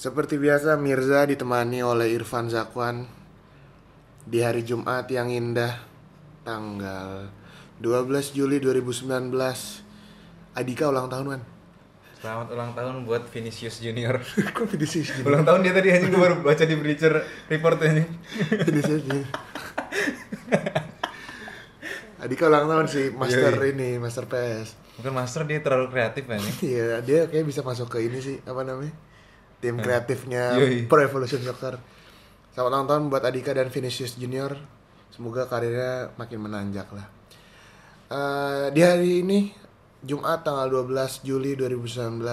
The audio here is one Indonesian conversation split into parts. Seperti biasa Mirza ditemani oleh Irfan Zakwan di hari Jumat yang indah tanggal 12 Juli 2019. Adika ulang tahun kan? Selamat ulang tahun buat Vinicius Junior. Kok Vinicius Junior? ulang tahun dia tadi anjing gue baru baca di Bleacher Report anjing. Vinicius Junior. Adika ulang tahun sih master Yoi. ini, master PS. Mungkin master dia terlalu kreatif anjing. Iya, dia kayak bisa masuk ke ini sih, apa namanya? Tim kreatifnya Yoi. Pro Evolution Soccer. Selamat ulang tahun buat Adika dan Vinicius Junior. Semoga karirnya makin menanjak lah. Eh, di hari ini Jumat tanggal 12 Juli 2019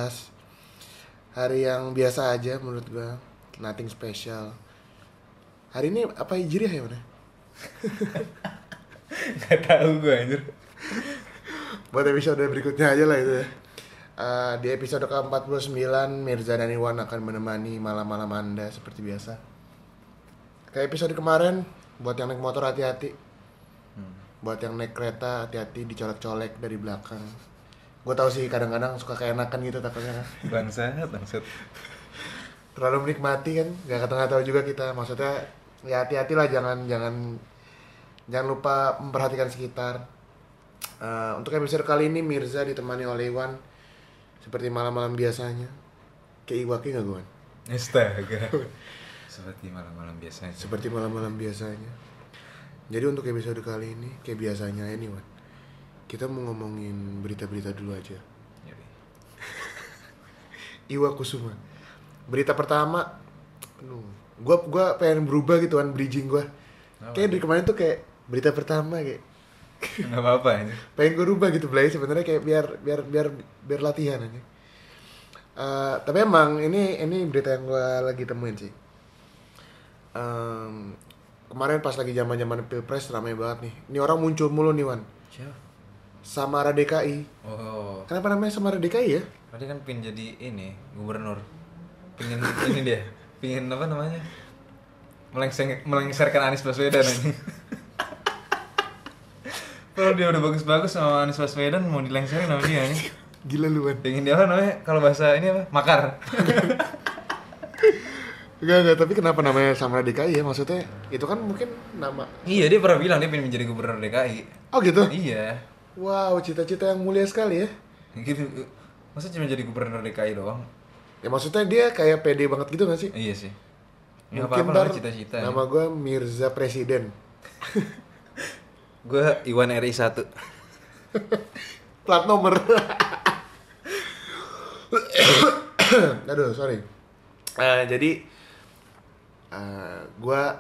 hari yang biasa aja menurut gua nothing special hari ini apa hijriah ya mana Gak tahu gue anjir. buat episode berikutnya aja lah itu ya. Eh, di episode ke-49 Mirza dan Iwan akan menemani malam-malam Anda seperti biasa. Kayak episode kemarin buat yang naik motor hati-hati. Hmm. Buat yang naik kereta hati-hati dicolek-colek dari belakang. Gue tau sih kadang-kadang suka keenakan gitu takutnya. kan. Bangsat, bangsat. Terlalu menikmati kan, nggak kata nggak tahu juga kita. Maksudnya ya hati-hatilah jangan jangan jangan lupa memperhatikan sekitar. Eh, untuk episode kali ini Mirza ditemani oleh Iwan seperti malam-malam biasanya. Kayak Iwaki nggak gue? Astaga. Seperti malam-malam biasanya. Seperti malam-malam biasanya. Jadi untuk episode kali ini kayak biasanya ini Wan. Kita mau ngomongin berita-berita dulu aja. Yoi. Iwa Kusuma. Berita pertama, aduh, gua gua pengen berubah gitu kan bridging gua. Kayak dari kemarin tuh kayak berita pertama kayak Gak apa-apa anjir. pengen gue rubah gitu Blay sebenarnya kayak biar biar biar biar latihan aja. Eh, tapi emang ini ini berita yang gua lagi temuin sih. Em, kemarin pas lagi zaman zaman pilpres ramai banget nih. Ini orang muncul mulu nih Wan. Siapa? Samara DKI. Oh, Kenapa namanya Samara DKI ya? tadi kan pin jadi ini gubernur. Pingin ini dia. Pingin apa namanya? Melengseng, melengserkan Anies Baswedan anjing. Kalau dia udah bagus-bagus sama Anies Baswedan mau dilengserin sama dia anjing. Gila lu Wan. Pingin dia apa namanya? Kalau bahasa ini apa? Makar. Enggak, enggak, tapi kenapa namanya Samara DKI ya? Maksudnya itu kan mungkin nama iya, dia pernah bilang dia pingin menjadi gubernur DKI. Oh gitu? iya. Wow, cita-cita yang mulia sekali ya Gitu. Masa cuma jadi gubernur DKI doang? Ya maksudnya dia kayak pede banget gitu gak sih? Iya sih. Nggak Mungkin apa-apa ntar namanya cita-cita. nama gue Mirza Presiden Gue Iwan RI 1. Plat nomor Aduh, sorry Eh, Jadi eh, gua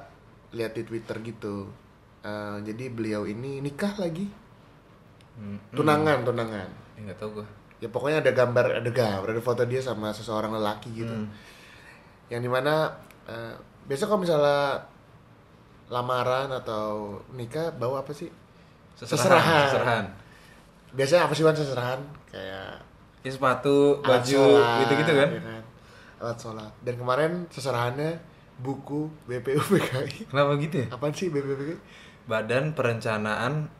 gue lihat di Twitter gitu Eh, Jadi beliau ini nikah lagi Hmm. Tunangan, tunangan Ya, nggak tahu gue. ya pokoknya ada gambar ada gambar ada foto dia sama seseorang lelaki gitu Hmm. yang dimana eh biasa kalau misalnya lamaran atau nikah bawa apa sih Seserahan. Seserahan. Seserahan. biasanya apa sih Wan seserahan kayak Ya, sepatu, alat baju, sholat, gitu-gitu kan. ya alat sholat dan kemarin seserahannya buku BPUPKI Kenapa gitu ya? apaan sih BPUPKI Badan perencanaan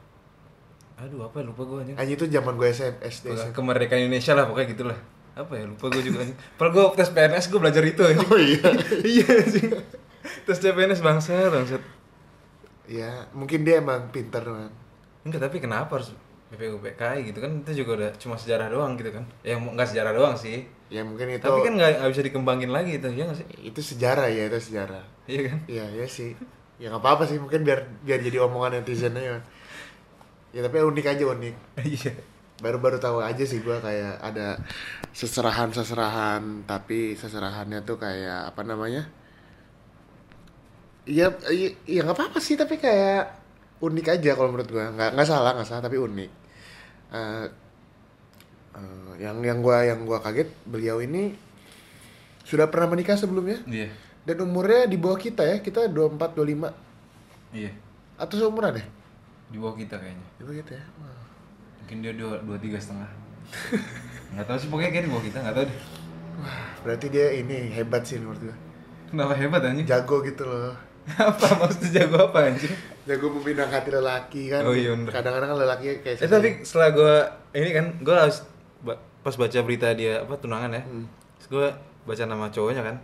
Aduh, apa ya? lupa gue anjing. Anjing itu zaman gue SM, SD Pokoknya SMP. kemerdekaan Indonesia lah pokoknya gitulah apa ya lupa gue juga anjing. padahal gue tes PNS gue belajar itu anjing. oh iya iya anjing tes CPNS bangsa bangsat ya mungkin dia emang pinter man enggak tapi kenapa harus BPUPKI gitu kan itu juga udah cuma sejarah doang gitu kan ya mau- nggak sejarah doang sih ya mungkin itu tapi kan nggak nggak bisa dikembangin lagi itu ya nggak sih itu sejarah ya itu sejarah iya kan Iya, iya sih. Ya nggak apa-apa sih, mungkin biar biar jadi omongan netizen aja. Ya tapi unik aja unik. iya Baru-baru tahu aja sih gua kayak ada seserahan-seserahan, tapi seserahannya tuh kayak apa namanya? Iya, iya ya nggak apa-apa sih, tapi kayak unik aja kalau menurut gua. Nggak nggak salah, nggak salah, tapi unik. Eh, eh, yang yang gua yang gua kaget beliau ini sudah pernah menikah sebelumnya iya dan umurnya di bawah kita ya, kita 24, 25 iya Atau seumuran ya? di bawah kita kayaknya Di bawah kita ya? Wah. mungkin dia dua dua tiga setengah nggak tahu sih pokoknya kayak di bawah kita nggak tahu deh Berarti dia ini hebat sih menurut gue kenapa hebat anjing Jago gitu loh apa maksudnya jago apa anjing Jago meminang hati lelaki kan Oh iya, bener. Kadang-kadang kan lelaki kayak eh tapi setelah gue ini kan gue Hmm. harus ba- pas baca berita dia apa tunangan ya terus gue baca nama cowoknya kan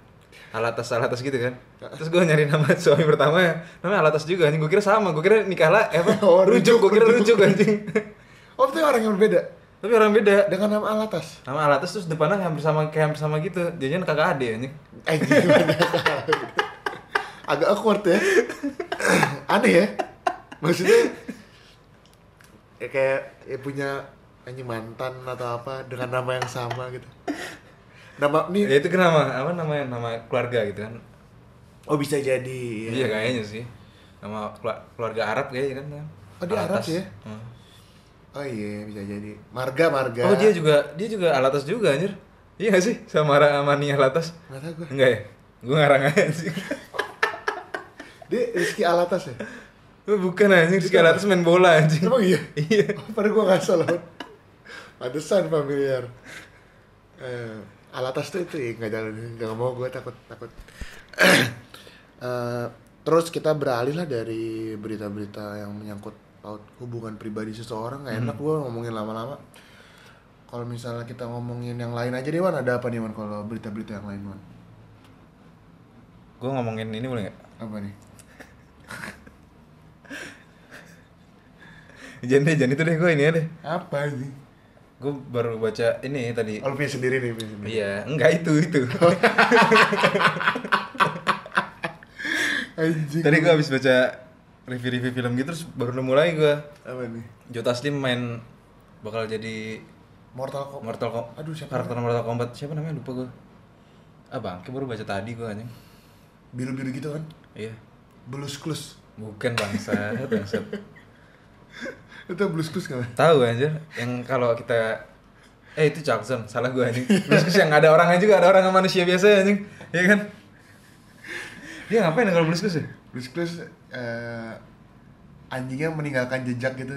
Alatas Alatas gitu kan. Terus gue nyari nama suami pertama ya. namanya Alatas juga anjing. Gue kira sama, gue kira nikah lah eh, apa? Oh, rujuk, rujuk, gue kira rujuk. rujuk anjing. Oh, itu orang yang berbeda Tapi orang beda. dengan nama Alatas. Nama Alatas terus depannya hampir sama kayak hampir sama gitu. Jadinya kakak ade anjing. Eh, gimana? Agak awkward ya. Aneh ya. Maksudnya ya kayak ya punya anjing mantan atau apa dengan nama yang sama gitu. Nama nih Ya itu kenapa? Apa namanya? Nama keluarga gitu kan. oh bisa jadi. ya. Iya kayaknya sih. Nama kelu- keluarga Arab kayaknya kan. Oh, dia Arab Alatas. ya? Hmm. Oh iya, bisa jadi. Marga, marga. Oh dia juga dia juga alatas juga anjir. Iya gak sih? Samara Amani alatas. Nggak tahu gue. Enggak ya? Gue ngarang aja sih. Dia Rizky Alatas ya? Lu Bukan anjir, si alatas main bola anjing. Emang iya? Iya. Oh, Padahal gue nggak salah. Pantesan familiar. Eh, Alatas tuh itu ya, nggak jalan, nggak mau gue takut takut. Eh, terus kita beralih lah dari berita-berita yang menyangkut paut hubungan pribadi seseorang nggak Hmm. enak gue ngomongin lama-lama. Kalau misalnya kita ngomongin yang lain aja deh, Wan. Ada apa nih, Wan? Kalau berita-berita yang lain, Wan? Gue ngomongin ini boleh gak? Apa nih? Jangan deh, jangan itu deh gue ini deh. Apa ini? Gue baru baca ini tadi. Oh, lu punya sendiri nih, punya sendiri. Iya, enggak itu itu. Oh, Anjing. tadi gue habis baca review-review film gitu terus baru nemu lagi gue. Apa nih? Joe Taslim main bakal jadi Mortal Kombat. Mortal Kombat. Oh. Aduh, siapa Karakter Mortal Kombat siapa namanya lupa gue. Ah bang, baru baca tadi gue anjing. Biru-biru gitu kan? Iya. Blues Clues. Bukan bangsa, bangsa. Itu Blues Clues kan? Tahu anjir, yang kalau kita eh itu Jackson, salah gua anjing. Terus yang ada orangnya juga, ada orang yang manusia biasa anjing. Iya kan? Dia ngapain kalau blues ya? Blues Clues eh, anjingnya meninggalkan jejak gitu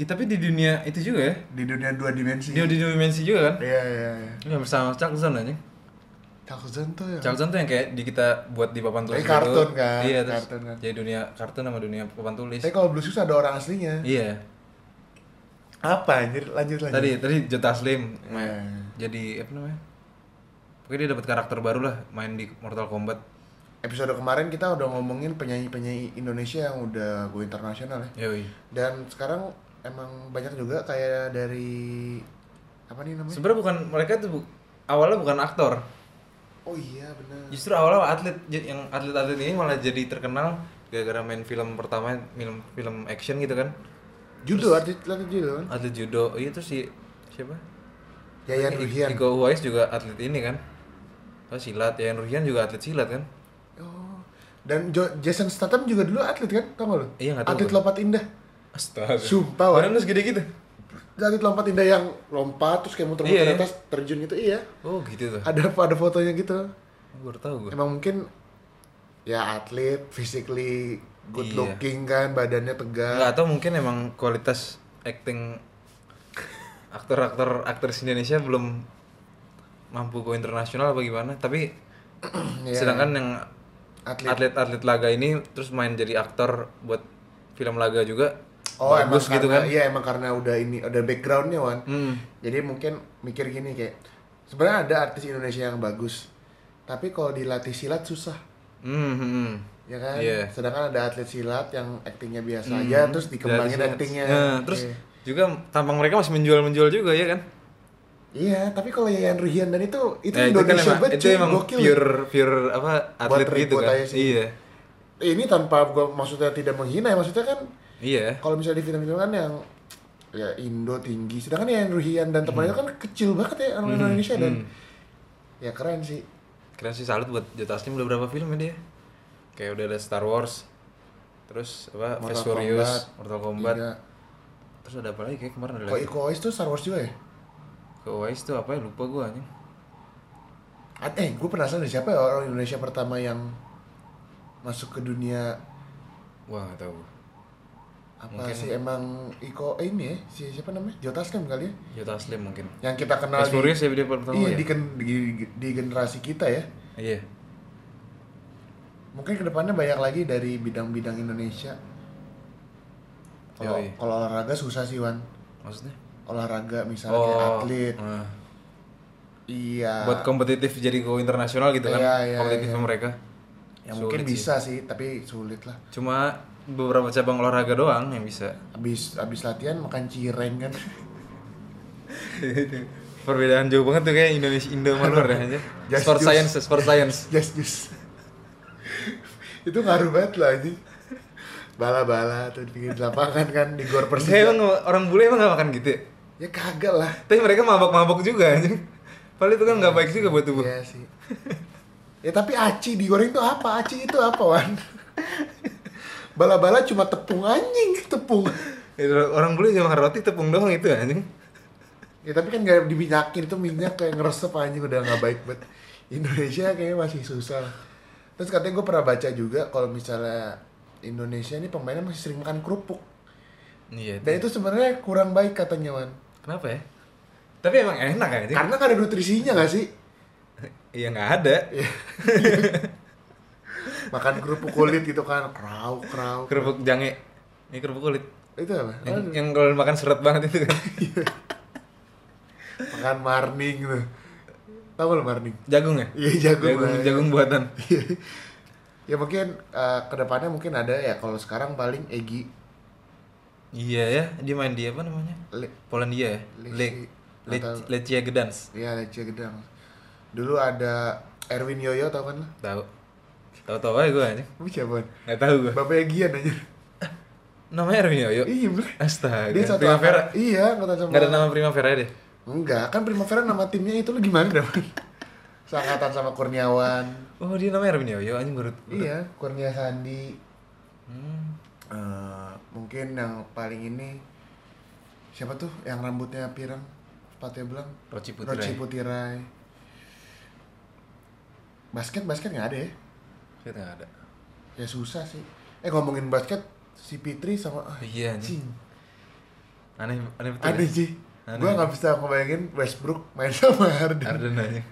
Ih, tapi di dunia itu juga ya. di dunia dua dimensi. Dia di dimensi juga kan? Iya iya iya. Ini bersama Jackson anjing. Takuzen tuh ya. Jackson tuh yang kayak di kita buat di papan tulis Tapi kartun gitu. kan, Iya, terus kartun kan. jadi dunia kartun sama dunia papan tulis. Tapi kalau Blues Clues ada orang aslinya. Iya. Apa anjir? Lanjut lanjut. Tadi tadi Jota Slim Iya. jadi apa namanya? Pokoknya dia dapat karakter baru lah main di Mortal Kombat. Episode kemarin kita udah ngomongin penyanyi-penyanyi Indonesia yang udah go internasional ya. Yoi. Dan sekarang emang banyak juga kayak dari apa nih namanya? Sebenarnya bukan mereka tuh bu- awalnya bukan aktor. Oh iya benar. Justru awalnya atlet j- yang atlet-atlet ini malah jadi terkenal gara-gara main film pertama film film action gitu kan. Judo artis lagi judo kan? Atlet judo. Iya tuh si siapa? Yayan Ruhian. Iko Uwais juga atlet ini kan. Oh, silat. Yayan Ruhian juga atlet silat kan. Oh. Dan Jo- Jason Statham juga dulu atlet kan? Tau gak lu? Iya, nggak tahu Atlet gua. lompat indah. Astaga. Sumpah, Wan. Badan lu segede gitu. Atlet lompat indah yang lompat terus kayak muter-muter Iya, di iya. atas terjun gitu iya. Oh, gitu tuh. Ada ada fotonya gitu. Gua Baru tahu gua. Emang mungkin ya atlet, physically good Iya. looking kan, badannya tegak. Enggak atau mungkin emang kualitas acting aktor-aktor aktris Indonesia belum mampu go internasional apa gimana, tapi Iya. sedangkan yang Atlet. atlet-atlet laga ini terus main jadi aktor buat film laga juga Oh, bagus emang gitu karena, kan. Iya, emang karena udah ini ada backgroundnya Wan. Hmm. Jadi mungkin mikir gini kayak sebenarnya ada artis Indonesia yang bagus. Tapi kalau dilatih silat susah. Hmm, hmm, hmm. ya kan Iya. Hmm. sedangkan ada atlet silat yang aktingnya biasa aja terus dikembangin Dari- aktingnya Nah, terus Iya. juga tampang mereka masih menjual-menjual juga ya kan? iya tapi kalau Yayan Ruhian dan itu itu Eh, kan Indonesia emang- banget itu cuy, emang gokil pure pure apa atlet ribut gitu kan. aja sih. Iya. ini tanpa gua maksudnya tidak menghina ya maksudnya kan Iya. kalau misalnya di film-film kan yang ya Indo tinggi sedangkan Yayan Ruhian dan Hmm. temannya kan kecil banget ya orang Indonesia dan ya keren sih keren sih salut buat Joe Taslim udah berapa film ya dia kayak udah ada Star Wars terus apa Fast Mortal Furious Kombat. Mortal Kombat Iya. terus ada apa lagi kayak kemarin ada kok lagi Iko Uwais tuh Star Wars juga ya ke Wise tuh apa ya lupa gue anjing Ad- eh gue penasaran deh, siapa ya orang Indonesia pertama yang masuk ke dunia wah gak tau apa sih emang Iko eh, ini ya si siapa namanya Joe Taslim kali ya Joe Taslim mungkin yang kita kenal di, Fast Furious ya dia pertama iya, ya di, gen- di- di generasi kita ya iya mungkin kedepannya banyak lagi dari bidang-bidang Indonesia kalau Yoi. kalau olahraga susah sih Wan maksudnya olahraga misalnya kayak atlet ah. Iya. Oh. buat kompetitif jadi go internasional gitu kan Iya, iya, kompetitif iya. sama mereka yang Sulit Ya mungkin sih. bisa sih. tapi sulit lah. cuma beberapa cabang olahraga doang yang bisa Abis abis latihan makan cireng kan. perbedaan jauh banget tuh kayak Indonesia Indo sama luar ya aja Just sport juice. science sport science Yes, yes. itu ngaruh banget lah ini. Bala-bala tuh dibikin di lapangan kan di gor Persija. Emang Persija. orang bule emang gak makan gitu ya? Ya kagak lah. Tapi mereka mabok-mabok juga anjing. Padahal itu kan gak baik juga buat tubuh Iya sih. ya tapi aci digoreng itu apa? Aci itu apa, Wan? Bala-bala cuma tepung anjing, tepung. Ya, Orang bule cuma makan roti tepung doang itu anjing Ya tapi kan gak diminyakin itu minyak kayak ngeresep anjing udah nggak baik banget. Indonesia kayaknya masih susah. lah. Terus katanya gue pernah baca juga kalau misalnya Indonesia ini pemainnya masih sering makan kerupuk. Iya Dan itu sebenarnya kurang baik katanya Wan. Kenapa ya? Tapi emang enak anjing Karena kan ada nutrisinya gak sih? Iya gak ada Makan kerupuk kulit gitu kan, kerau kerau. Kerupuk jange Ini kerupuk kulit Itu apa? Yang, yang kalau makan seret banget itu kan Makan marning tuh. Tahu lo marning? Jagung ya? Iya jagung. Jagung, lah. jagung buatan Ya mungkin eh, kedepannya mungkin ada ya kalau sekarang paling Egi Iya ya, dia main di apa namanya? Le- Polandia ya? Leci- Le atau- Le- Lecia Gdansk Iya Lece Gedang. Dulu ada Erwin Yoyo tau kan lah. Tahu. Tahu-tahu aja gue anjing Lu siapa? Gak tahu gue Bapak Egian aja. Namanya Erwin Yoyo Iya bener. Astaga, Dia satu Nah, kan Primavera. angkatan. Iya, angkatan sama. Nggak ada nama Primavera deh. Enggak, kan Primavera nama timnya itu lu gimana Daman? Seangkatan sama Kurniawan. Oh, dia namanya Erwin Yoyo anjing baru. baru- Iya, Kurnia Sandi. Hmm. Eh, mungkin yang paling ini siapa tuh yang rambutnya pirang, sepatunya belang? Roci Putri. Roci Putirai. Basket basket nggak ada ya? Kita nggak ada. Ya susah sih. Eh ngomongin basket si Fitri sama ah, Iya, anjing. anjing. Aneh, aneh betul. Aneh ya? sih. Aneh. Gue nggak bisa ngebayangin Westbrook main sama Harden. Arden anjing.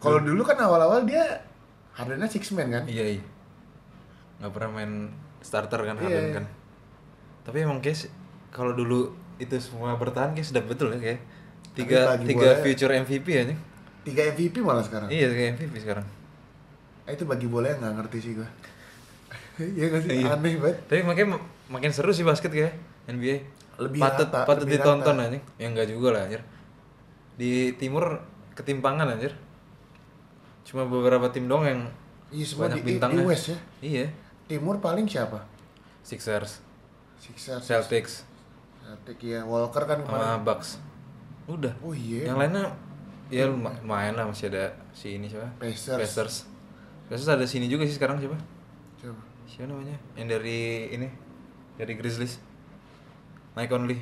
Kalau dulu kan awal-awal dia Hardennya six man kan? Iya, iya. Nggak pernah main starter kan Iya, Harden iya. kan. Tapi emang guys, kalau dulu itu semua bertahan guys sudah betul ya kayak tiga bagi ya. tiga bola- future MVP anjing. Tiga MVP malah sekarang. Iya, kayak MVP sekarang. Eh, Itu bagi bola yang nggak ngerti sih gue. Iya nggak sih? Iya. Aneh banget. Tapi makin makin seru sih basket kayak NBA. Lebih patut rata, patut lebih ditonton rata. anjing. Ya enggak juga lah anjir. Di timur ketimpangan anjir. Cuma beberapa tim doang yang Iya semua di, banyak di bintangnya. West ya. Iya. Timur paling siapa? Sixers, Sixers. Celtics, Celtic ya. Walker kan kemarin. sama Bucks. Udah. Oh iya. Yang lainnya ya luma- lumayan lah masih ada si ini siapa? Pacers. Pacers. Pacers ada sini juga sih sekarang siapa? Coba. Siapa namanya? Yang dari ini dari Grizzlies. Mike Conley.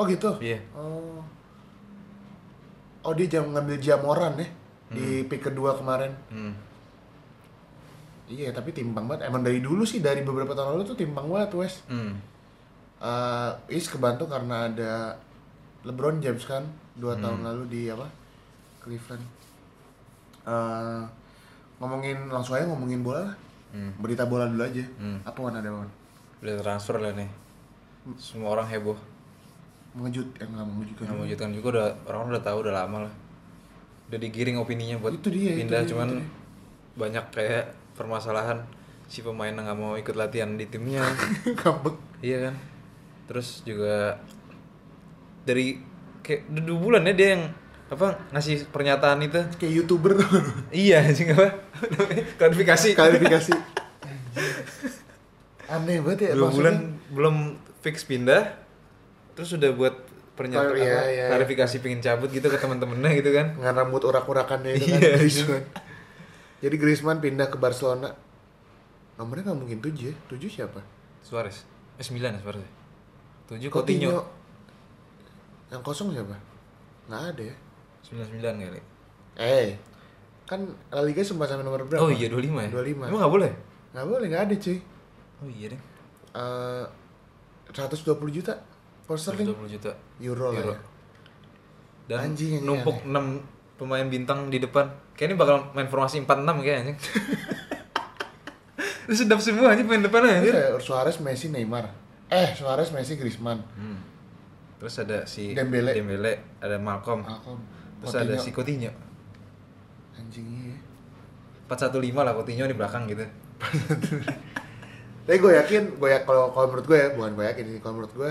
Oh gitu. Iya. Oh. Oh dia jam ngambil Jamoran ya di pick kedua kemarin. Hmm. Iya tapi timpang banget. Emang dari dulu sih dari beberapa tahun lalu tuh timpang banget West. Hmm. Eh, is kebantu karena ada LeBron James kan dua Hmm. tahun lalu di apa Cleveland. Eh, ngomongin langsung aja ngomongin bola lah. Hmm. Berita bola dulu aja. Hmm. Apa Wan ada Wan? Udah transfer lah nih. Semua orang heboh. Mengejut yang nggak mengejutkan. Yang mewujudkan juga udah orang udah tahu udah lama lah. Udah digiring opininya buat Itu dia, itu pindah dia, cuman itu dia. banyak kayak permasalahan si pemain yang nggak mau ikut latihan di timnya. Ngambek. iya kan. Terus juga dari kayak udah dua bulan ya dia yang apa ngasih pernyataan itu Kayak youtuber tuh. iya anjing apa klarifikasi klarifikasi aneh banget ya maksudnya. dua bulan belum fix pindah terus sudah buat pernyataan Klar- iya, apa, iya, klarifikasi pengen cabut gitu ke teman-temannya gitu kan dengan rambut urak-urakannya itu kan Iya. Griezmann jadi Griezmann pindah ke Barcelona nomornya nggak mungkin tujuh ya tujuh siapa Suarez eh sembilan ya Suarez tujuh Coutinho yang kosong siapa nggak ada ya sembilan sembilan kali eh kan La Liga sempat sampai nomor berapa oh iya dua lima ya 25. emang nggak boleh nggak boleh nggak ada cuy oh iya deh Eh 120 juta pound sterling dua puluh juta euro, lah Euro. ya dan Anjing, anjing, numpuk enam pemain bintang di depan kayak ini bakal main formasi empat enam kayaknya terus sedap semua aja pemain depan Terus aja ada Suarez Messi Neymar eh Suarez Messi Griezmann terus ada si Dembele. ada Malcolm Malcolm Terus ada si Coutinho. Anjing iya. 415 lah Coutinho di belakang gitu. Tapi gue yakin, gue ya kalau kalau menurut gue ya, bukan gue yakin sih, kalau menurut gue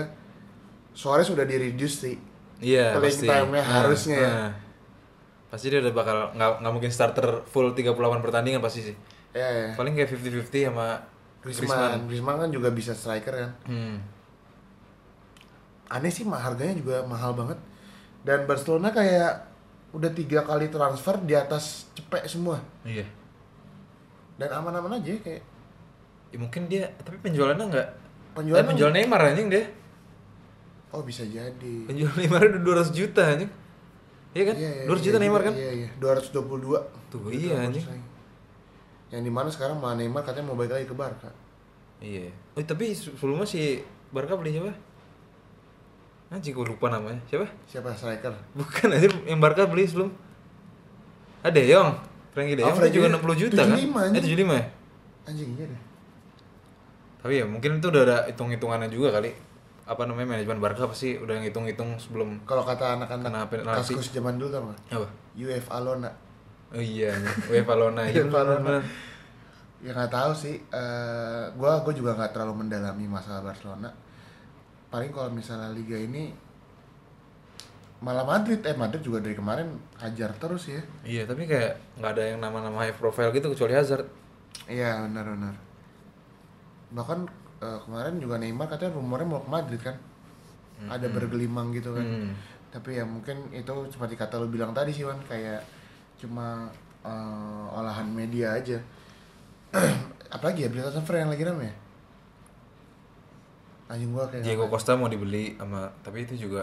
Suarez sudah di reduce sih. Iya, Playing pasti. time-nya Ah, harusnya ya. ah. Pasti dia udah bakal nggak nggak mungkin starter full 38 pertandingan pasti sih. Ya, ya. Paling kayak 50-50 sama Griezmann. Griezmann, Griezmann kan juga bisa striker kan. Hmm. Aneh sih mah harganya juga mahal banget. Dan Barcelona kayak udah tiga kali transfer di atas cepek semua Iya. dan aman-aman aja kayak Ya, mungkin dia tapi penjualannya nggak Penjualan penjualan, penjual Neymar anjing dia. oh bisa jadi Penjual Neymar udah 200 juta anjing. Iya kan? 200 juta Neymar kan? iya iya 222 Itu Tuh, iya, transfer anjing. Gitu, saya. yang dimana sekarang malah Neymar katanya mau balik lagi ke Barca Iya. Oh, tapi sebelumnya si Barca beli siapa? Ah, Anjing gue lupa namanya. Siapa? siapa striker Bukan aja yang Barca beli sebelum. Ah, De Jong. Frankie De Ah, Jong dia Frankie juga De- 60 juta kan? 75 anjing. Eh, 75 ya? anjing iya deh Tapi ya mungkin itu udah ada hitung-hitungannya juga kali. Apa namanya manajemen Barca pasti udah ngitung-hitung sebelum kalau kata anak-anak Kenapa nanti? kaskus zaman dulu tau gak apa? UEFA Lona Oh iya, UEFA Lona. Iya, UEFA Lona. bener-bener. ya nggak tahu sih eh, gua gue juga nggak terlalu mendalami masalah Barcelona paling kalau misalnya liga ini malah Madrid eh Madrid juga dari kemarin hajar terus ya Iya, tapi kayak nggak ada yang nama-nama high profile gitu kecuali Hazard. Iya benar-benar. Bahkan eh, kemarin juga Neymar katanya rumornya mau ke Madrid kan, ada bergelimang gitu kan. Hmm. Tapi ya mungkin itu seperti kata lu bilang tadi sih Wan kayak cuma eh, olahan media aja. Apalagi ya berita transfer yang lagi rame ya? Anjing gua kayak Diego Costa mau dibeli sama tapi itu juga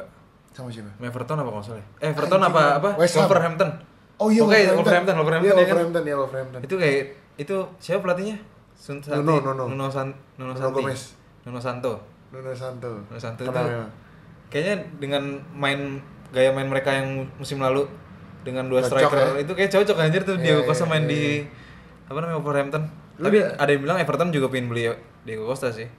sama siapa? sama Everton apa kalau nggak salah ya? Eh Everton Anjing, apa apa? West Ham. Wolverhampton. Oh iya Oke, Wolverhampton, Wolverhampton, Iya ya kan? Wolverhampton, iya Wolverhampton. Itu kayak itu siapa pelatihnya? Sun Santi. Nuno, Nuno. Nuno San Nuno Nuno, Santi. Gomez. Nuno Santo. Nuno Santo. Nuno Santo itu Kenal ya. memang. kayaknya dengan main gaya main mereka yang musim lalu dengan dua Cocok, striker ya? itu kayak cocok anjir tuh Iya, Diego iya, Costa main iya, di iya. apa namanya Wolverhampton. Lu Tapi udah- ada yang bilang Everton juga pengen beli Diego Costa sih.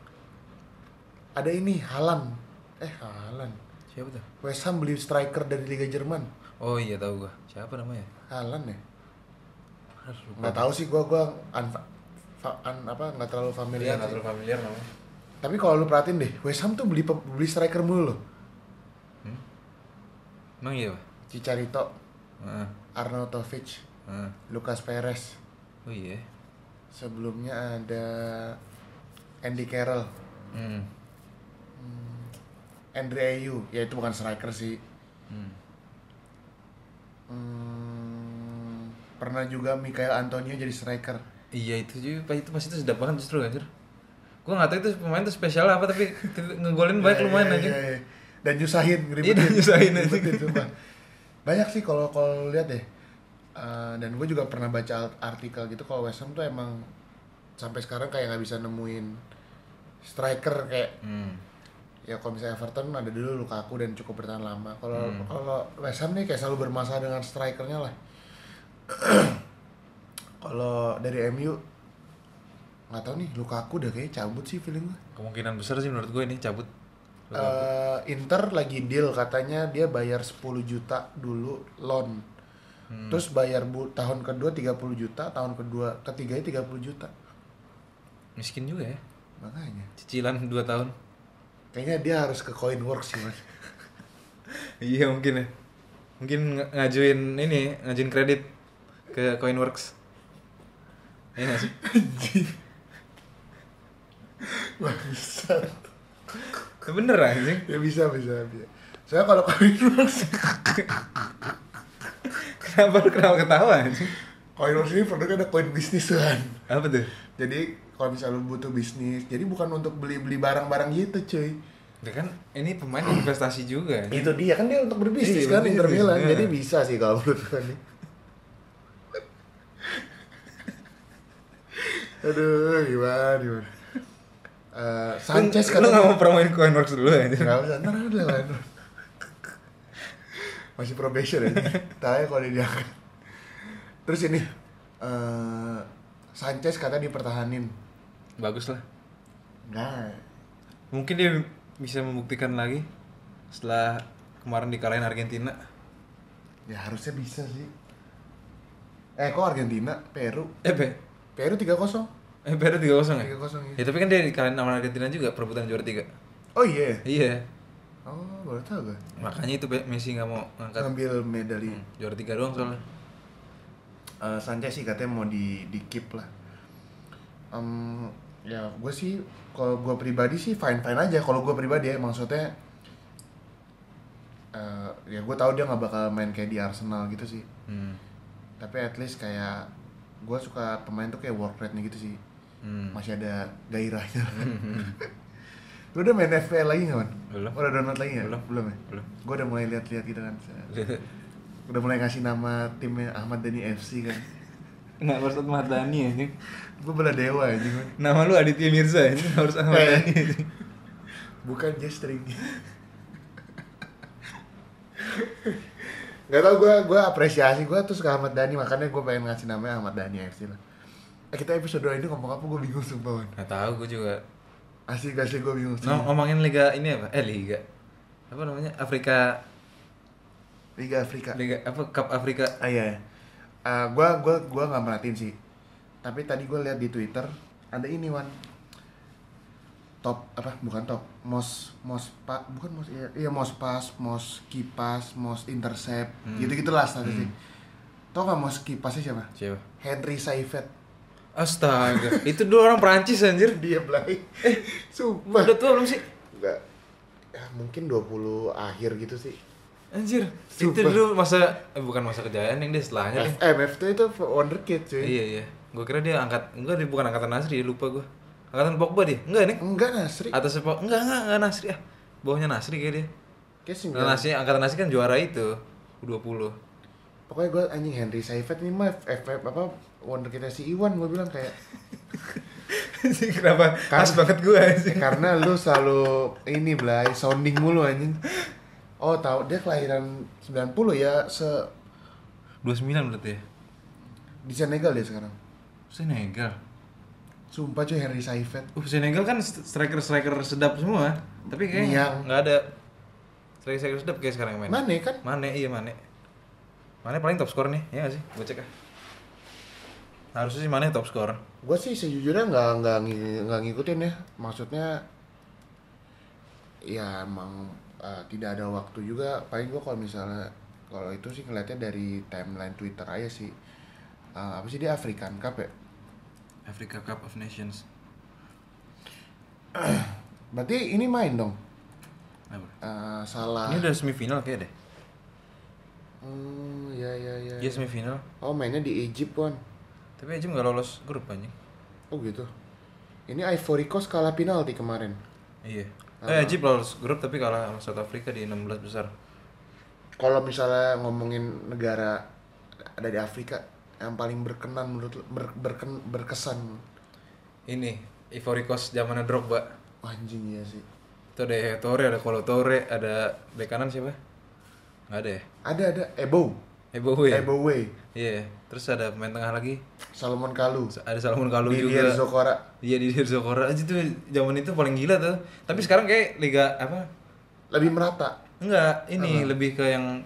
Ada ini Halan. Eh Halan. Siapa tuh? West Ham beli striker dari Liga Jerman. Oh iya tahu gua. Siapa namanya? Halan ya? Aduh, lupa. nggak tahu sih gua gua unfa- fa- un- apa nggak terlalu Iya, familiar nggak sih. terlalu familiar namanya. tapi kalau lu perhatiin deh West Ham tuh beli pem- beli striker mulu loh Hmm? Emang iya, Pak? Cicarito Heeh. Arnautovic heeh. Lucas Perez Oh iya. sebelumnya ada Andy Carroll Hmm. Andre Ayew ya itu bukan striker sih Hmm. Hmm, pernah juga Michael Antonio jadi striker Iya itu juga, Pak, itu pas itu sedap banget justru anjir. Gua nggak tahu itu pemain tuh spesial apa tapi tit- ngegolin Iya, banyak Kan lumayan iya, anjir. iya, iya. dan nyusahin ngeribetin. dan nyusahin, anjing. Ngeribetin, sumpah. banyak sih kalau kalau lu lihat deh Eh, dan gue juga pernah baca alt- artikel gitu kalau West Ham tuh emang sampai sekarang kayak nggak bisa nemuin striker kayak Hmm. ya kalau misalnya Everton ada dulu Lukaku dan cukup bertahan lama kalau kalau West Ham nih kayak selalu bermasalah dengan strikernya lah kalau dari MU nggak tahu nih Lukaku udah kayak cabut sih feeling gue Kemungkinan besar sih menurut gue ini cabut. eh Inter lagi deal katanya dia bayar 10 juta dulu loan. Terus bayar bu tahun kedua 30 juta, tahun kedua ketiganya 30 juta. Miskin juga ya. Makanya. Cicilan 2 tahun. Kayaknya dia harus ke Coinworks sih, Mas. iya mungkin ya. Mungkin ng- ngajuin ini, ngajuin kredit ke Coinworks. Iya nggak sih? bisa. Bener anjing. Ya bisa, bisa, bisa. Saya kalau Coinworks, Kenapa lu kenapa ketawa anjing? Coinworks ini produknya ada coin bisnis kan. Apa tuh? Jadi kalau misalnya lu butuh bisnis, jadi bukan untuk beli-beli barang-barang gitu, cuy. Ya kan ini pemain investasi juga. Itu dia kan dia untuk berbisnis Iya, kan berbisnis, Inter Milan. iya. Jadi bisa sih kalau menurut gue nih. Aduh, gimana, gimana. Eh, Sanchez lu, lu nggak katanya mau promoin Coinworks dulu anjir. nggak usah, ntar udah lah. ntar. Masih probation ya. Tanya kalau dia diangkat. Terus ini eh Sanchez katanya dipertahanin. Nah, Bagus lah. Enggak. Mungkin dia bisa membuktikan lagi setelah kemarin dikalahin Argentina. Ya harusnya bisa sih. Eh kok Argentina, Peru? Eh, Pe- Peru 3-0. eh Peru 3-0 ya? 3-0 Ya ya. tapi kan dia dikalahin sama Argentina juga perebutan juara 3. Oh iya. Iya. Oh, baru tahu gue. Makanya itu Pe, Messi nggak mau ngangkat Ngambil medali. Hmm, juara 3 doang soalnya. Eh, Sanchez sih katanya mau di di keep lah. Em, ya gue sih kalau gue pribadi sih fine fine aja kalau gue pribadi ya maksudnya eh, ya gue tahu dia nggak bakal main kayak di Arsenal gitu sih Hmm. tapi at least kayak gue suka pemain tuh kayak work rate-nya gitu sih Hmm. masih ada gairahnya lu udah main FPL lagi nggak man? Belum. udah download lagi nggak? Belum. belum ya? Belum. gue udah mulai lihat-lihat gitu kan udah mulai ngasih nama timnya Ahmad Dhani FC kan Nggak harus Ahmad Dhani anjing. gue bela dewa aja man. Nama lu Aditya Mirza anjing, nggak harus Ahmad Eh. Dhani anjing. bukan gesturing Gak tau gue gue apresiasi gue tuh suka Ahmad Dhani makanya gue pengen ngasih namanya Ahmad Dhani FC lah eh, kita episode ini ngomong apa gue bingung sumpah man. Nggak tahu gue juga. asli asli gue bingung No, ngomongin liga ini apa? Eh liga. Apa namanya? Afrika Liga Afrika Liga apa Cup Afrika. Ah iya. Ah, gua gua gua nggak merhatiin sih. Tapi tadi gua lihat di Twitter ada ini Wan. Top apa? Bukan top. Mos mos pa, bukan mos iya, iya mos pas, mos kipas, mos intercept. Gitu-gitulah statistik. Tau gak mos kipasnya siapa? Siapa? Henry Saifet. Astaga, itu dua orang Prancis anjir. Dia belai. Sumpah. Udah tua belum sih? Enggak. Ya, mungkin 20 akhir gitu sih. Anjir, itu Sumpah. dulu masa eh, bukan masa kejayaan yang dia setelahnya deh. F- MFT itu wonderkid cuy. ya? Iya iya. Gue kira dia angkat enggak dia bukan angkatan Nasri, dia lupa gue. Angkatan Pogba dia. Enggak nih. Enggak Nasri. Atas Pogba. Enggak enggak enggak Nasri ah. Bawahnya Nasri kayak dia. Kayak Nah, sembilan- Nasri angkatan Nasri kan juara itu U20. pokoknya gue anjing Henry Saifet ini mah F, F- apa wonder kita si Iwan gue bilang kayak Anjir, Kenapa? Khas banget gue "Eh, anjir. karena lu selalu ini belai sounding mulu anjing oh tahu dia kelahiran 90 ya se 29 berarti ya. di Senegal dia sekarang Senegal. sumpah cuy Henry Saifet Uh, Senegal kan st- striker-striker sedap semua. Tapi Niang. kayaknya nggak ada striker-striker sedap kayak sekarang yang main. Mane kan Mane, iya Mane. Mane paling top skor nih, ya nggak sih? Gue cek ah. Harusnya sih Mane top skor. gue sih sejujurnya nggak nggak ngi- nggak ngikutin ya maksudnya ya emang eh, tidak ada waktu juga paling gue kalau misalnya kalau itu sih ngeliatnya dari timeline Twitter aja sih Eh, apa sih dia African Cup ya Africa Cup of Nations. Berarti ini main dong. Nah, bro. Eh, salah. Ini udah semifinal kayak deh. Hmm, ya ya ya. Iya semifinal. Oh, mainnya di Egypt, Wan. Tapi aja nggak lolos grup anjing. Oh, gitu. Ini Ivory Coast kalah penalti kemarin. Iya. Eh, Egypt lolos grup tapi kalah sama South Africa di 16 besar. Kalau misalnya ngomongin negara dari Afrika yang paling berkenan menurut lu- ber- berken- berkesan Ini Ivory Coast zamannya Drogba. Wah, anjing ya sih. Itu ada Yaya Toure, ada Kolo Toure, ada bek kanan siapa? Nggak ada ya? Ada ada Ebo. Ebo ya? Iya. Ebowe, Terus ada pemain tengah lagi. Salomon Kalu, Ada Salomon Kalou Didier juga. Zokora. Iya di Zokora aja tuh zaman itu paling gila tuh. Tapi sekarang kayak liga apa? Lebih merata. Enggak, ini lebih ke yang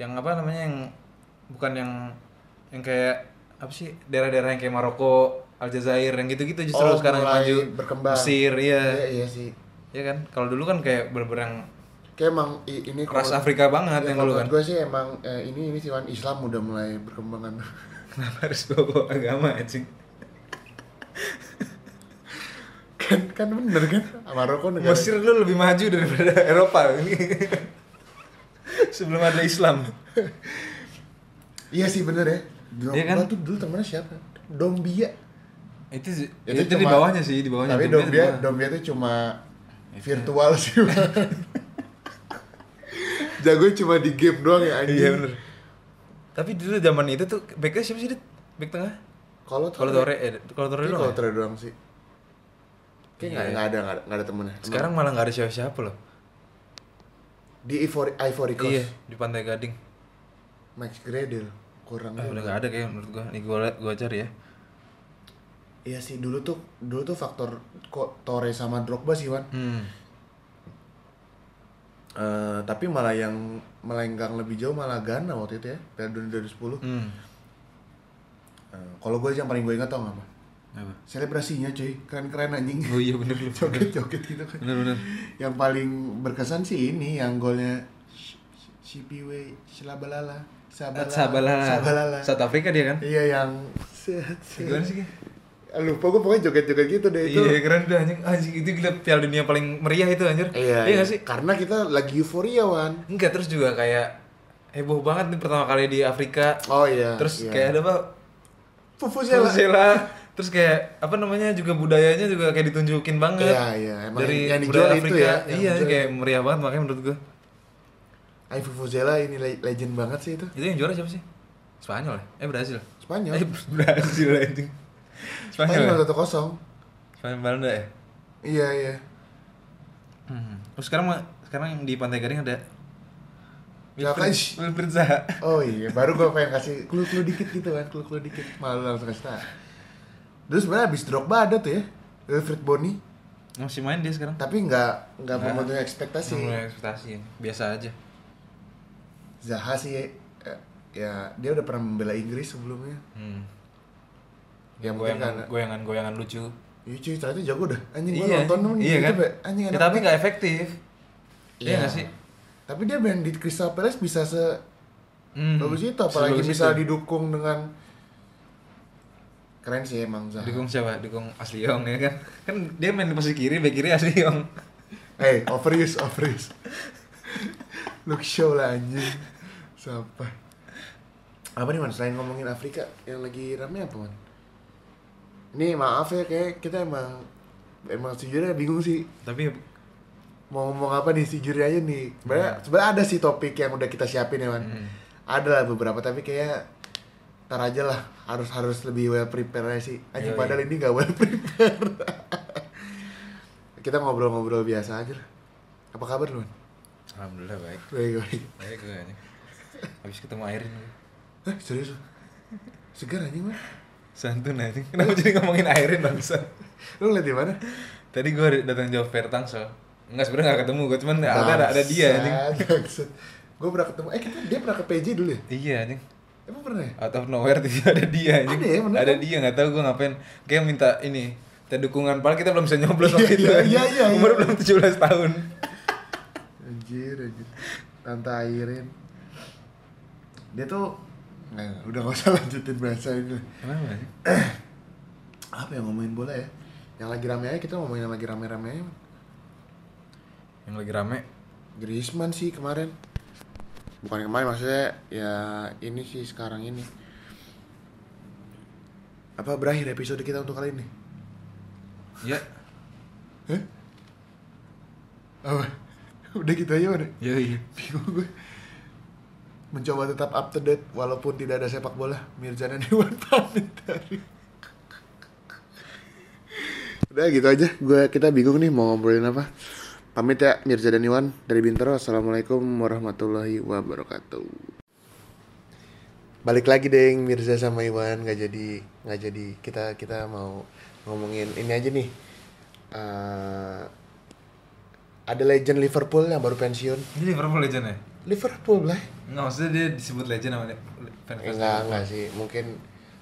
yang apa namanya yang bukan yang yang kayak apa sih daerah-daerah yang kayak Maroko, Aljazair yang gitu-gitu justru Oh, sekarang yang mulai maju berkembang. Mesir, iya. Iya, iya sih. Iya kan? Kalau dulu kan kayak bener-bener yang Kayak emang i- ini Iya, kalau- ras Afrika banget Ya, yang kalau dulu kan. menurut gue sih emang eh, ini ini sih Wan, Islam udah mulai kan. berkembangan. Kenapa harus bawa agama anjing? kan kan bener kan? Maroko negara. Mesir dulu lebih maju daripada Eropa ini. Sebelum ada Islam. Iya sih bener ya. Drogba Iya kan? tuh dulu temennya siapa? Dombia. Itu itu, di Ya, bawahnya sih, di bawahnya. Tapi Dombia di Dombia bawah. Iya. Dombia tuh cuma virtual sih. Wan. Jago cuma di game doang ya anjing. Iya bener. Tapi dulu zaman itu tuh backnya siapa sih dit? Back tengah? Kalau Kalau Tore, eh, kalau Tore Kayaknya doang kalau ya? Tore doang sih. Kayak nggak Iya. nggak ada nggak ada, nggak ada temennya. Sekarang malah nggak ada siapa-siapa loh. di Ivory Ivory Coast, Iya di Iya, Pantai Gading. Max Gradel kurang. Ah, juga. udah nggak ada kayak menurut gua. Nih gua liat- gua cari ya. Iya sih dulu tuh dulu tuh faktor kok Torre sama Drogba sih Wan. Hmm. Eh, tapi malah yang melenggang lebih jauh malah Ghana waktu itu ya Piala Dunia 2010 Hmm. Eh, kalau gue yang paling gue ingat tau gak mah Apa? selebrasinya cuy keren-keren anjing Oh iya bener lu. joget-joget gitu kan Bener bener. yang paling berkesan sih ini yang golnya Sh- Sh- Shipiwe Shilabalala Sabalala Sabalala. Sabalala. South Africa dia kan. iya yang set, set. Gimana sih? Ki? Ah, lupa gue pokoknya joget-joget gitu deh itu Iya keren tuh anjing. Anjing itu gila Piala Dunia paling meriah itu anjir. iya iya gak sih? karena kita lagi euforia wan Enggak terus juga kayak heboh banget nih pertama kali di Afrika. oh iya iya. Terus kayak ada apa? Vuvuzela. Vuvuzela. Terus kayak apa namanya juga budayanya juga kayak ditunjukin banget. Iya, iya. Emang Dari yang dijual budaya itu Afrika. ya, yang Iya, dijual. kayak meriah banget makanya menurut gua. Ay, Vuvuzela ini le- legend banget sih itu. Itu yang juara siapa sih? Spanyol ya? Eh Brazil. Spanyol. Eh Brazil anjing. Spanyol. Spanyol ya? satu kosong. Spanyol Belanda ya? Iya iya. Hmm. Terus sekarang mah- sekarang di Pantai Gading ada Siapa sih? Wilfried Zaha. Oh iya, baru gue pengen kasih clue-clue dikit gitu kan, clue-clue dikit. Malu langsung kasih tahu. Terus sebenarnya habis Drogba ada tuh ya, Wilfried Boni, Masih main dia sekarang. tapi nggak nggak Nah. memenuhi ekspektasi. Mulai ekspektasi ya. Biasa aja. Zaha sih eh, ya dia udah pernah membela Inggris sebelumnya. Hmm. Ya mungkin Goyangan, karena goyangan, goyangan lucu. Iya cuy, ternyata jago dah. Anjing gua nonton temen iya gitu, kan? Be. Anjing Ya, enak tapi banget. nggak efektif. Iya nggak sih? Tapi dia main di Crystal Palace bisa se Hmm. bagus itu apalagi Sebagus bisa itu. didukung dengan keren sih emang Zaha. dukung siapa? Dukung Asli Yong ya kan? Kan dia main di posisi kiri, back kiri Asli Yong. Hey, overuse, overuse. Look show lah anjing. Sampah. Apa nih man, selain ngomongin Afrika yang lagi rame apa man? Ini maaf ya kayak kita emang emang sejujurnya bingung sih Tapi mau ngomong apa nih sejujurnya aja nih. Sebenarnya sebenarnya ada sih topik yang udah kita siapin ya man. Hmm. Ada lah beberapa tapi kayak ntar aja lah harus harus lebih well prepare aja sih. Anjing Yoi. padahal ini gak well prepare. kita ngobrol-ngobrol biasa aja. lah. Apa kabar lu? Man? alhamdulillah baik. Baik, baik. Baik gue anjing. Habis ketemu Airin gue. Eh, serius? lu? Segar anjing, man. Santun anjing. Kenapa jadi ngomongin Airin bangsa? Lu liat di mana? Tadi gue datang jawab Fair Tangsel. Enggak sebenarnya nggak ketemu gue, cuman ada ada, ada dia anjing. Gue pernah ketemu. Eh, kita, dia pernah ke PJ dulu ya? Iya anjing. Emang pernah ya? Out of nowhere tiba ada dia anjing. Ada ya, bener Ada kan? dia nggak tahu gue ngapain. Kayak minta ini minta dukungan padahal kita belum bisa nyoblos Iya, waktu itu. iya, anjing. iya, iya, Umur iya. belum 17 tahun. Anjir, anjir. Tante Airin. Dia tuh Nggak, udah gak usah lanjutin bahasa ini Kenapa anjing? Apa yang ngomongin bola ya? Yang lagi rame aja, kita ngomongin yang lagi rame-rame aja Man. Yang lagi rame. Griezmann sih kemarin Bukan kemarin, maksudnya ya ini sih sekarang ini Apa berakhir episode kita untuk kali ini? Ya, Hah? Apa? Udah gitu aja udah. ya iya. Bingung gue. Mencoba tetap up to date walaupun tidak ada sepak bola. Mirjana Dewan pamit dari. Udah gitu aja. Gue kita bingung nih mau ngobrolin apa. Pamit ya Mirza dan Iwan dari Bintaro. Assalamualaikum warahmatullahi wabarakatuh. Balik lagi deng Mirza sama Iwan nggak jadi nggak jadi kita kita mau ngomongin ini aja nih. Eh, ada legend Liverpool yang baru pensiun. Ini Liverpool legend ya? Liverpool lah. Nggak, maksudnya dia disebut legend sama dia- fan Eh, fans Enggak, Liverpool. enggak sih. Mungkin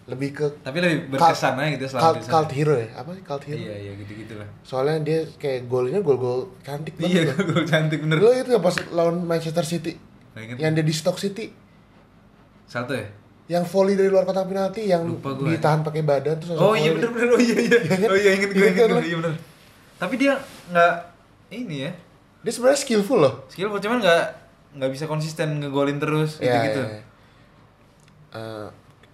lebih ke Tapi lebih berkesan aja gitu selama cult, di sana. cult hero ya. Apa sih cult hero? Iya, iya gitu-gitu lah. Soalnya dia kayak golnya gol-gol cantik Iya, banget. ya. gue cantik bener. Lo itu ya pas lawan Manchester City. Nggak inget. Yang dia di Stock City, Satu ya? yang volley dari luar kotak penalti yang Lupa gua. ditahan pakai badan terus langsung Oh iya volley. bener bener oh iya iya Iya kan? oh iya inget gue Iya inget kan, gue lo? iya bener. Tapi dia nggak ini ya Dia sebenarnya skillful loh. skill cuman nggak nggak bisa konsisten ngegolin terus gitu Iya, gitu. iya, iya. Eh,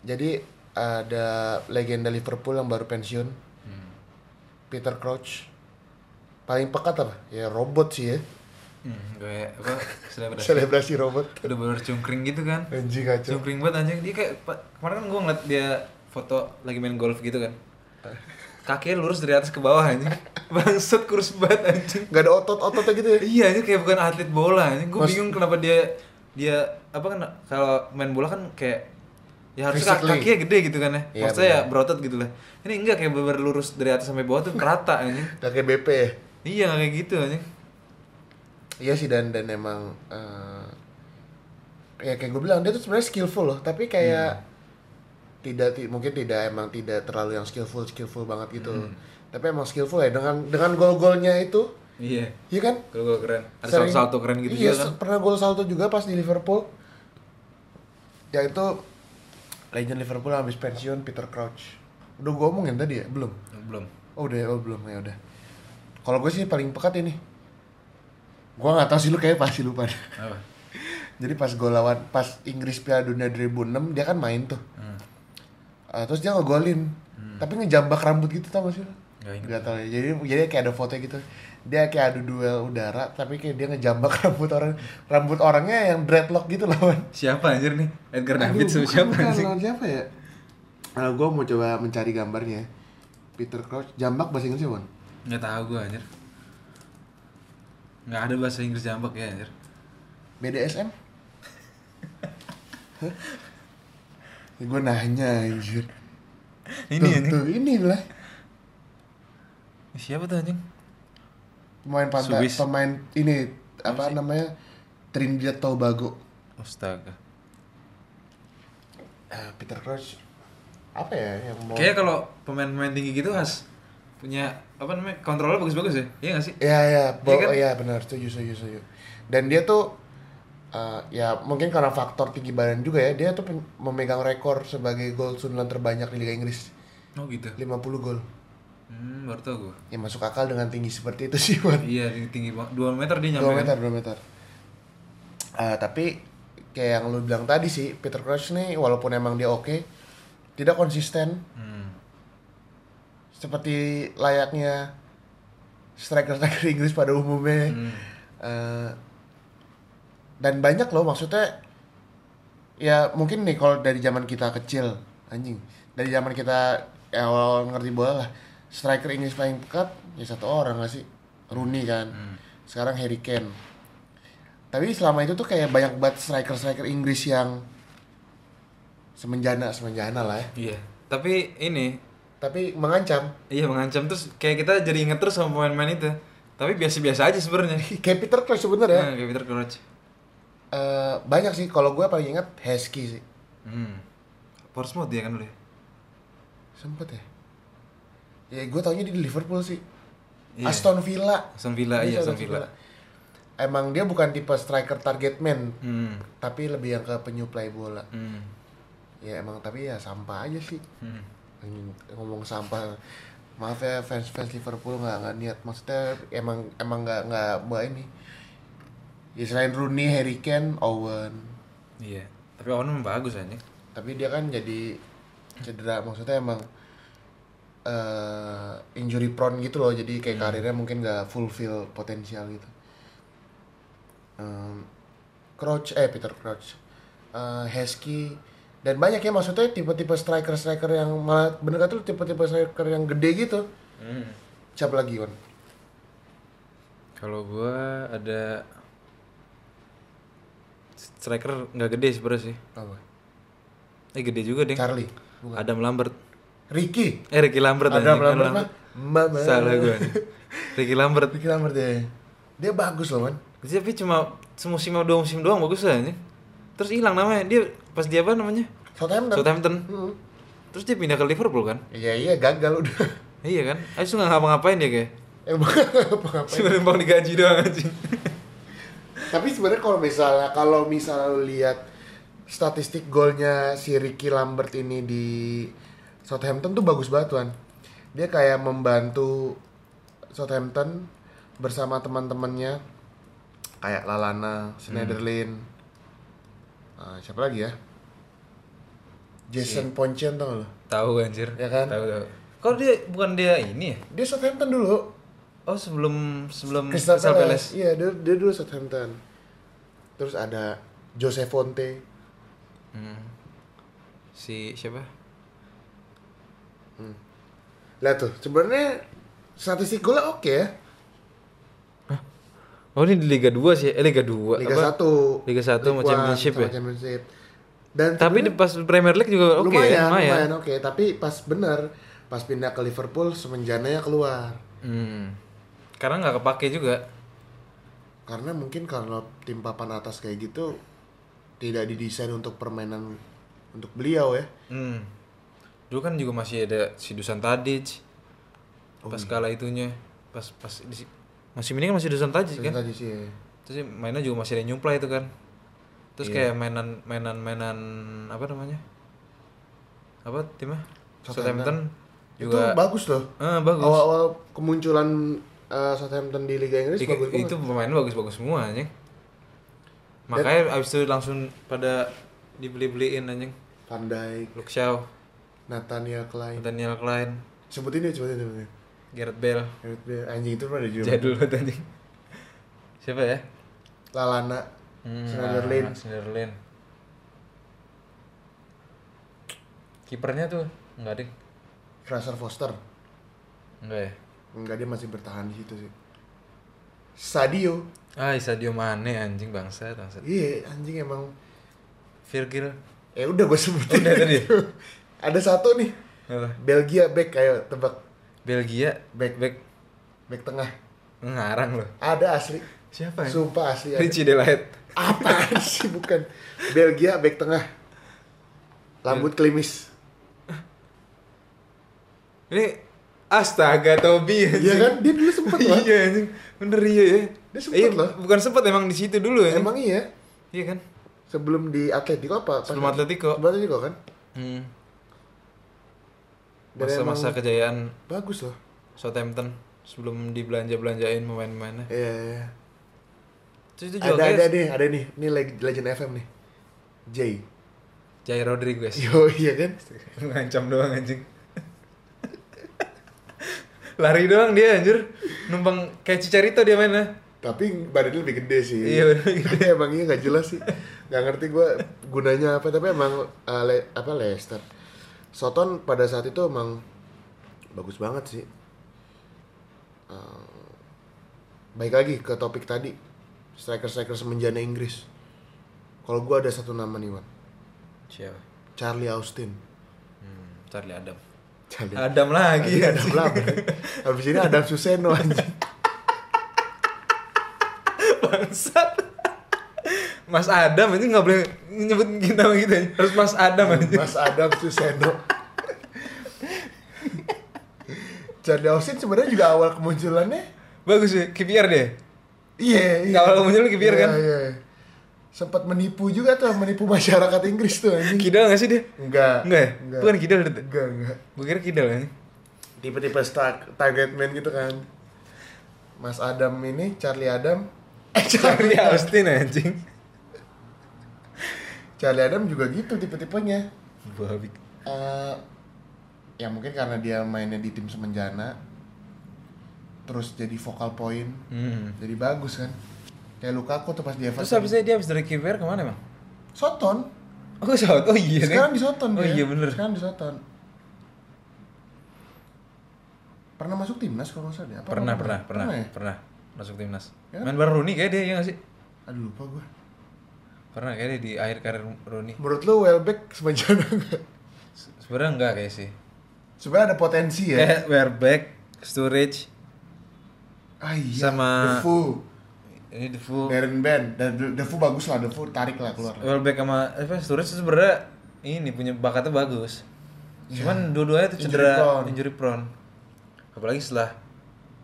jadi ada legenda Liverpool yang baru pensiun. Hmm. Peter Crouch. Paling pekat apa? Ya robot sih ya. Hmm, kayak apa selebrasi Selebrasi Iya, robot. udah bener cungkring gitu kan Anjing kacau. cungkring banget anjing dia kayak pa- kemarin kan gue ngeliat dia foto lagi main golf gitu kan kakinya lurus dari atas ke bawah anjing bangset kurus banget anjing Gak ada otot-ototnya gitu ya. iya anjing kayak bukan atlet bola anjing gue Mas- bingung kenapa dia dia apa kan kalau main bola kan kayak ya harusnya kaki Physically. kakinya gede gitu kan ya Iya, maksudnya ya berotot gitu lah ini enggak kayak bener lurus dari atas sampai bawah tuh kerata anjing Gak kayak BP ya. iya nggak kayak gitu anjing iya sih dan dan emang eh, ya kayak gue bilang dia tuh sebenarnya skillful loh tapi kayak Hmm. tidak ti- mungkin tidak emang tidak terlalu yang skillful skillful banget gitu loh. Hmm. tapi emang skillful ya dengan dengan gol-golnya itu Iya. iya kan Gol-gol keren. Ada Sering- salto-salto keren gitu iya, juga kan. se- pernah gol salto juga pas di Liverpool ya itu legend Liverpool yang habis pensiun Peter Crouch udah gue omongin tadi ya belum Belum. Oh udah, oh belum ya udah. Kalau gue sih paling pekat ini. Gue nggak tahu sih lu kayak pasti lupa. deh. Apa? Jadi pas gue lawan pas Inggris Piala Dunia 2006 dia kan main tuh. Hmm. Ah, terus dia ngegolin. Tapi ngejambak rambut gitu tau gak sih? lu? Nggak ingat. Nggak tahu ya. Jadi jadi kayak ada foto gitu. Dia kayak adu duel udara tapi kayak dia ngejambak rambut orang. Rambut orangnya yang dreadlock gitu lawan. Siapa anjir nih? Edgar Aduh, David sama bukan- siapa bukan, anjing? lawan siapa ya? gue mau coba mencari gambarnya. Peter Crouch jambak bahasa Inggrisnya, Wan? Nggak tahu gue anjir. Nggak ada bahasa Inggris jambak ya anjir. BDSM? gue Ya, nanya anjir Ini Tuh, anjing. tuh, inilah Siapa tuh anjing? pemain pantai Swiss. pemain ini apa namanya Trinidad Tobago Astaga. Eh, Peter Crouch apa ya yang mau Kayaknya kalau pemain-pemain tinggi gitu khas punya apa namanya kontrolnya bagus-bagus ya? Iya nggak sih? ya ya bo- Iya kan? ya benar setuju setuju setuju dan dia tuh eh, ya mungkin karena faktor tinggi badan juga ya dia tuh pen- memegang rekor sebagai gol sundulan terbanyak di Liga Inggris Oh gitu. 50 gol Hmm, baru tau gue. ya masuk akal dengan tinggi seperti itu sih Wan. Iya, tinggi, tinggi banget. 2 meter dia nyampe. dua meter kan? dua meter Eh, tapi kayak yang lu bilang tadi sih Peter Crouch nih walaupun emang dia oke tidak konsisten Hmm. seperti layaknya striker striker Inggris pada umumnya Hmm. Eh, dan banyak loh maksudnya ya mungkin nih kalau dari zaman kita kecil anjing dari zaman kita ya, awal ngerti bola lah striker Inggris paling pekat ya satu orang gak sih Rooney kan sekarang Harry Kane tapi selama itu tuh kayak banyak banget striker striker Inggris yang semenjana semenjana lah ya Iya. Tapi ini tapi mengancam iya mengancam terus kayak kita jadi inget terus sama pemain-pemain itu. Tapi biasa-biasa aja sebenarnya. kayak Peter Crouch ya? sebenernya Nah, kayak Peter Crouch. Eh, banyak sih kalau gue paling ingat Heskey sih Hmm. Portsmouth dia kan dulu. ya? sempet ya ya gue taunya dia di Liverpool sih Iya. Aston Villa Aston Villa, Dia iya Aston Aston Villa. emang dia bukan tipe striker target man Hmm. tapi lebih yang ke penyuplai bola Hmm. ya emang tapi ya sampah aja sih Hmm. Anjing, ngomong sampah maaf ya fans fans Liverpool nggak nggak niat maksudnya emang emang nggak nggak buat ini ya selain Rooney Harry Kane Owen Iya. Tapi Owen memang bagus anjing. tapi dia kan jadi cedera maksudnya emang eh injury prone gitu loh jadi kayak Hmm. karirnya mungkin nggak fulfill potensial gitu Em, Crouch eh Peter Crouch eh Heskey dan banyak ya maksudnya tipe-tipe striker striker yang malah bener kata tuh tipe-tipe striker yang gede gitu Hmm. siapa lagi Wan? Kalau gua ada striker nggak gede sebenarnya sih. Apa? Eh gede juga deh. Charlie bukan Adam Lambert. Ricky Eh Ricky Lambert ada anjing. Kan Lambert mah Mama. Salah gue nih. Ricky Lambert. Ricky Lambert deh dia bagus loh Wan Tapi cuma semusim atau dua musim doang bagus lah anjing. Terus hilang namanya. Dia pas dia apa namanya? Southampton Southampton. Hmm. Terus dia pindah ke Liverpool kan? Iya iya gagal udah. Iya kan? Ayo tuh nggak ngapa-ngapain dia kayak. Emang apa-apa. Cuma numpang digaji doang anjing. Tapi sebenarnya kalau misalnya kalau misalnya lu lihat statistik golnya si Ricky Lambert ini di Southampton tuh bagus banget tuan. Dia kayak membantu Southampton bersama teman-temannya kayak Lalana, Schneiderlin, Ah, siapa lagi ya? Jason Ponchen tau gak lu? Tahu anjir. Ya kan? Tahu tahu. Kok dia bukan dia ini ya? Dia Southampton dulu. Oh sebelum sebelum Crystal Hmm, Crystal Palace. Palace. Iya, dia, dia dulu Southampton. Terus ada Jose Fonte. Hmm. Si siapa? Lihat tuh, sebenarnya statistik golnya oke ya. Oh ini di Liga 2 sih. Eh Liga 2. Liga 1. Liga 1 League sama One, Championship sama ya? Championship. Dan Tapi di pas Premier League juga oke lumayan, ya, lumayan. lumayan oke, tapi pas bener pas pindah ke ya Liverpool semenjananya keluar. Hmm. Karena nggak kepake juga. karena mungkin kalau tim papan atas kayak gitu tidak didesain untuk permainan untuk beliau ya Hmm. Dulu kan juga masih ada si Dusan Tadic. Pas kala itunya, pas pas di- Oh iya. masih mending masih Dusan Tadic kan. Terus tadi sih ya. Terus ya mainnya juga masih ada yang nyuplai itu kan. Terus kayak mainan mainan mainan apa namanya? Apa timnya? Southampton itu juga bagus loh eh, bagus. awal-awal kemunculan eh, Southampton di Liga Inggris Di- bagus banget itu pemain bagus-bagus semua anjing. Makanya abis itu langsung pada dibeli-beliin anjing. Van Dijk, Luke Shaw, Nathaniel Klein Daniel Klein, sebutin ya sebutin sebutin Gareth Bale. Gareth Bale. anjing itu pernah ada juga Jadul banget anjing. Siapa ya? Lalana Sunderland. nah, Sunderland. Kipernya tuh enggak ding. Fraser Foster Enggak ya. enggak dia masih bertahan di situ sih Sadio Ah, Sadio Mane anjing bangsa, bangsa. iya anjing emang Virgil. eh udah gue sebutin Udah tadi? ada satu nih Apa? Belgia back ayo tebak Belgia back back back tengah ngarang loh. ada asli Siapa ya? sumpah asli ada. Richie Delight. apaan sih bukan Belgia back tengah Iya. rambut klimis Ini astaga Tobi anjing. iya kan dia dulu sempet lah Iya anjing. Bener iya ya. Dia sempet Iya, loh. Bukan sempat emang di situ dulu anjing. emang iya Iya kan? sebelum di Atletico apa Sebelum Atletico. sebelum Atletico kan Hmm. Dan Masa-masa emang kejayaan bagus loh Southampton sebelum dibelanja-belanjain pemain-pemainnya. iya iya, iya. Terus itu juga ada ada kayak nih ada nih ini leg- legend FM nih J Jai Rodriguez. yo iya kan Ngancam doang anjing. Lari doang dia anjir. Numpang kayak Cicarito dia mainnya. tapi badannya lebih gede sih Iya, badannya emang iya nggak jelas sih nggak ngerti gue gunanya apa tapi emang uh, Le- apa Leicester Soton pada saat itu emang bagus banget sih Uh, baik lagi ke topik tadi striker striker semenjana Inggris kalau gue ada satu nama nih Wan Siapa? Charlie Austin Hmm, Charlie Adam. Charlie Adam lagi Iya, anjing. Adam Lambert. Habis ini Adam Suseno anjing. Bangsat. Mas Adam itu nggak boleh nyebut kita gitu anjing. Harus Mas Adam anjing. Mas Adam Suseno. Charlie Austin sebenarnya juga awal kemunculannya. Bagus sih, KPR dia. Iya, iya. Awal munculnya kebir, kan? Iya, iya. Sempat menipu juga tuh, menipu masyarakat Inggris tuh anjing. Kidal nggak sih dia? Enggak. Enggak ya? Enggak. Bukan Kidal itu. Enggak, enggak. Gue kira Kidal anjing. Tipe-tipe star target man gitu kan. Mas Adam ini Charlie Adam. Eh, Charlie Austin anjing. Charlie Adam juga gitu tipe-tipenya. Babi. Eh, ya mungkin karena dia mainnya di tim semenjana terus jadi vokal point Hmm. jadi bagus kan kayak Lukaku tuh pas di Everton Terus habisnya dia habis dari KPR kemana emang? Soton Oh ke Saud. Oh iya. sekarang nih. di Soton Oh dia. iya bener. sekarang di Soton pernah masuk timnas kalau nggak salah dia apa Pernah, apa- pernah, pernah, ya? pernah. Masuk timnas. Ya. Main bareng Rooney kayak dia ya nggak sih? aduh lupa gue Pernah kayak dia di akhir karir Rooney. menurut lu Welbeck semenjana nggak Se- Sebenarnya enggak kayak sih. sebenarnya ada potensi ya Kayak Werbeck, Sturridge, ah iya sama- Defu ini Defoe. Darren Bend dan Defu bagus lah Defu tarik lah keluar Welbeck sama apa Sturridge itu sebenarnya ini punya bakatnya bagus. Cuman dua-duanya tuh Iya. Injury cedera prone. injury prone. Apalagi setelah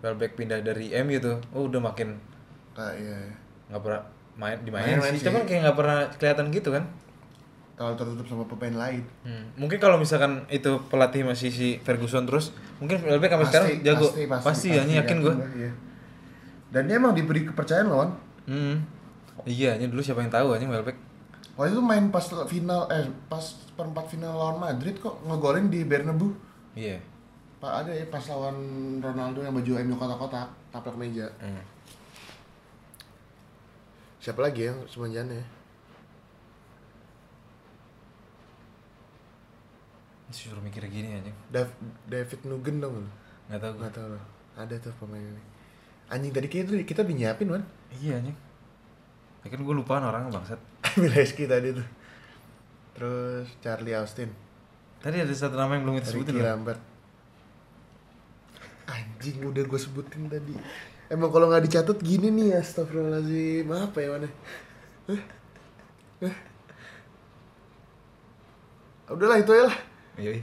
Welbeck pindah dari MU tuh, oh udah makin ah iya, iya. nggak pernah main dimainin Main-main sih. sih. Cuman kayak nggak pernah kelihatan gitu kan. terlalu tertutup sama pemain lain Hmm, Mungkin kalau misalkan itu pelatih masih si Ferguson terus, mungkin Welbeck sampai sekarang jago. Pasti, ya, ini yakin gue. gua, iya. dan dia emang diberi kepercayaan lawan Hmm. Iya, ini dulu siapa yang tahu anjing Welbeck. waktu itu main pas final eh pas perempat final lawan Madrid kok ngegolin di Bernabeu Iya. pak ada ya pas lawan Ronaldo yang baju MU kotak-kotak taplak meja Hmm. siapa lagi yang semenjana ya? Disuruh mikir gini anjing. Dav- David Nugen dong lu Nggak tahu gue. nggak tahu lah ada tuh pemain ini anjing tadi kita kita udah nyiapin kan Iya anjing. Ya kan gue lupaan orang bangsat. Mileski tadi tuh terus Charlie Austin Tadi ada satu nama yang belum kita sebutin Ricky loh. Lambert anjing udah gue sebutin tadi Emang kalau nggak dicatat gini nih astagfirullahaladzim. Apa ya mana? Udahlah itu aja lah. Yoi.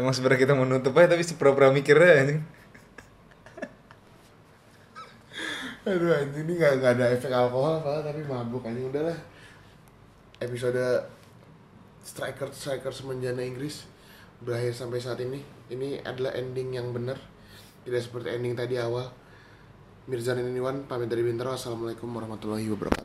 Emang sebenarnya kita menutup aja tapi sepura-pura mikirnya anjing. Aduh anjing ini nggak nggak ada efek alkohol apa tapi mabuk anjing udahlah. Episode striker striker semenjana Inggris berakhir sampai saat ini. Ini adalah ending yang benar. Tidak seperti ending tadi awal. Mirza Niniwan pamit dari Bintaro. Assalamualaikum warahmatullahi wabarakatuh.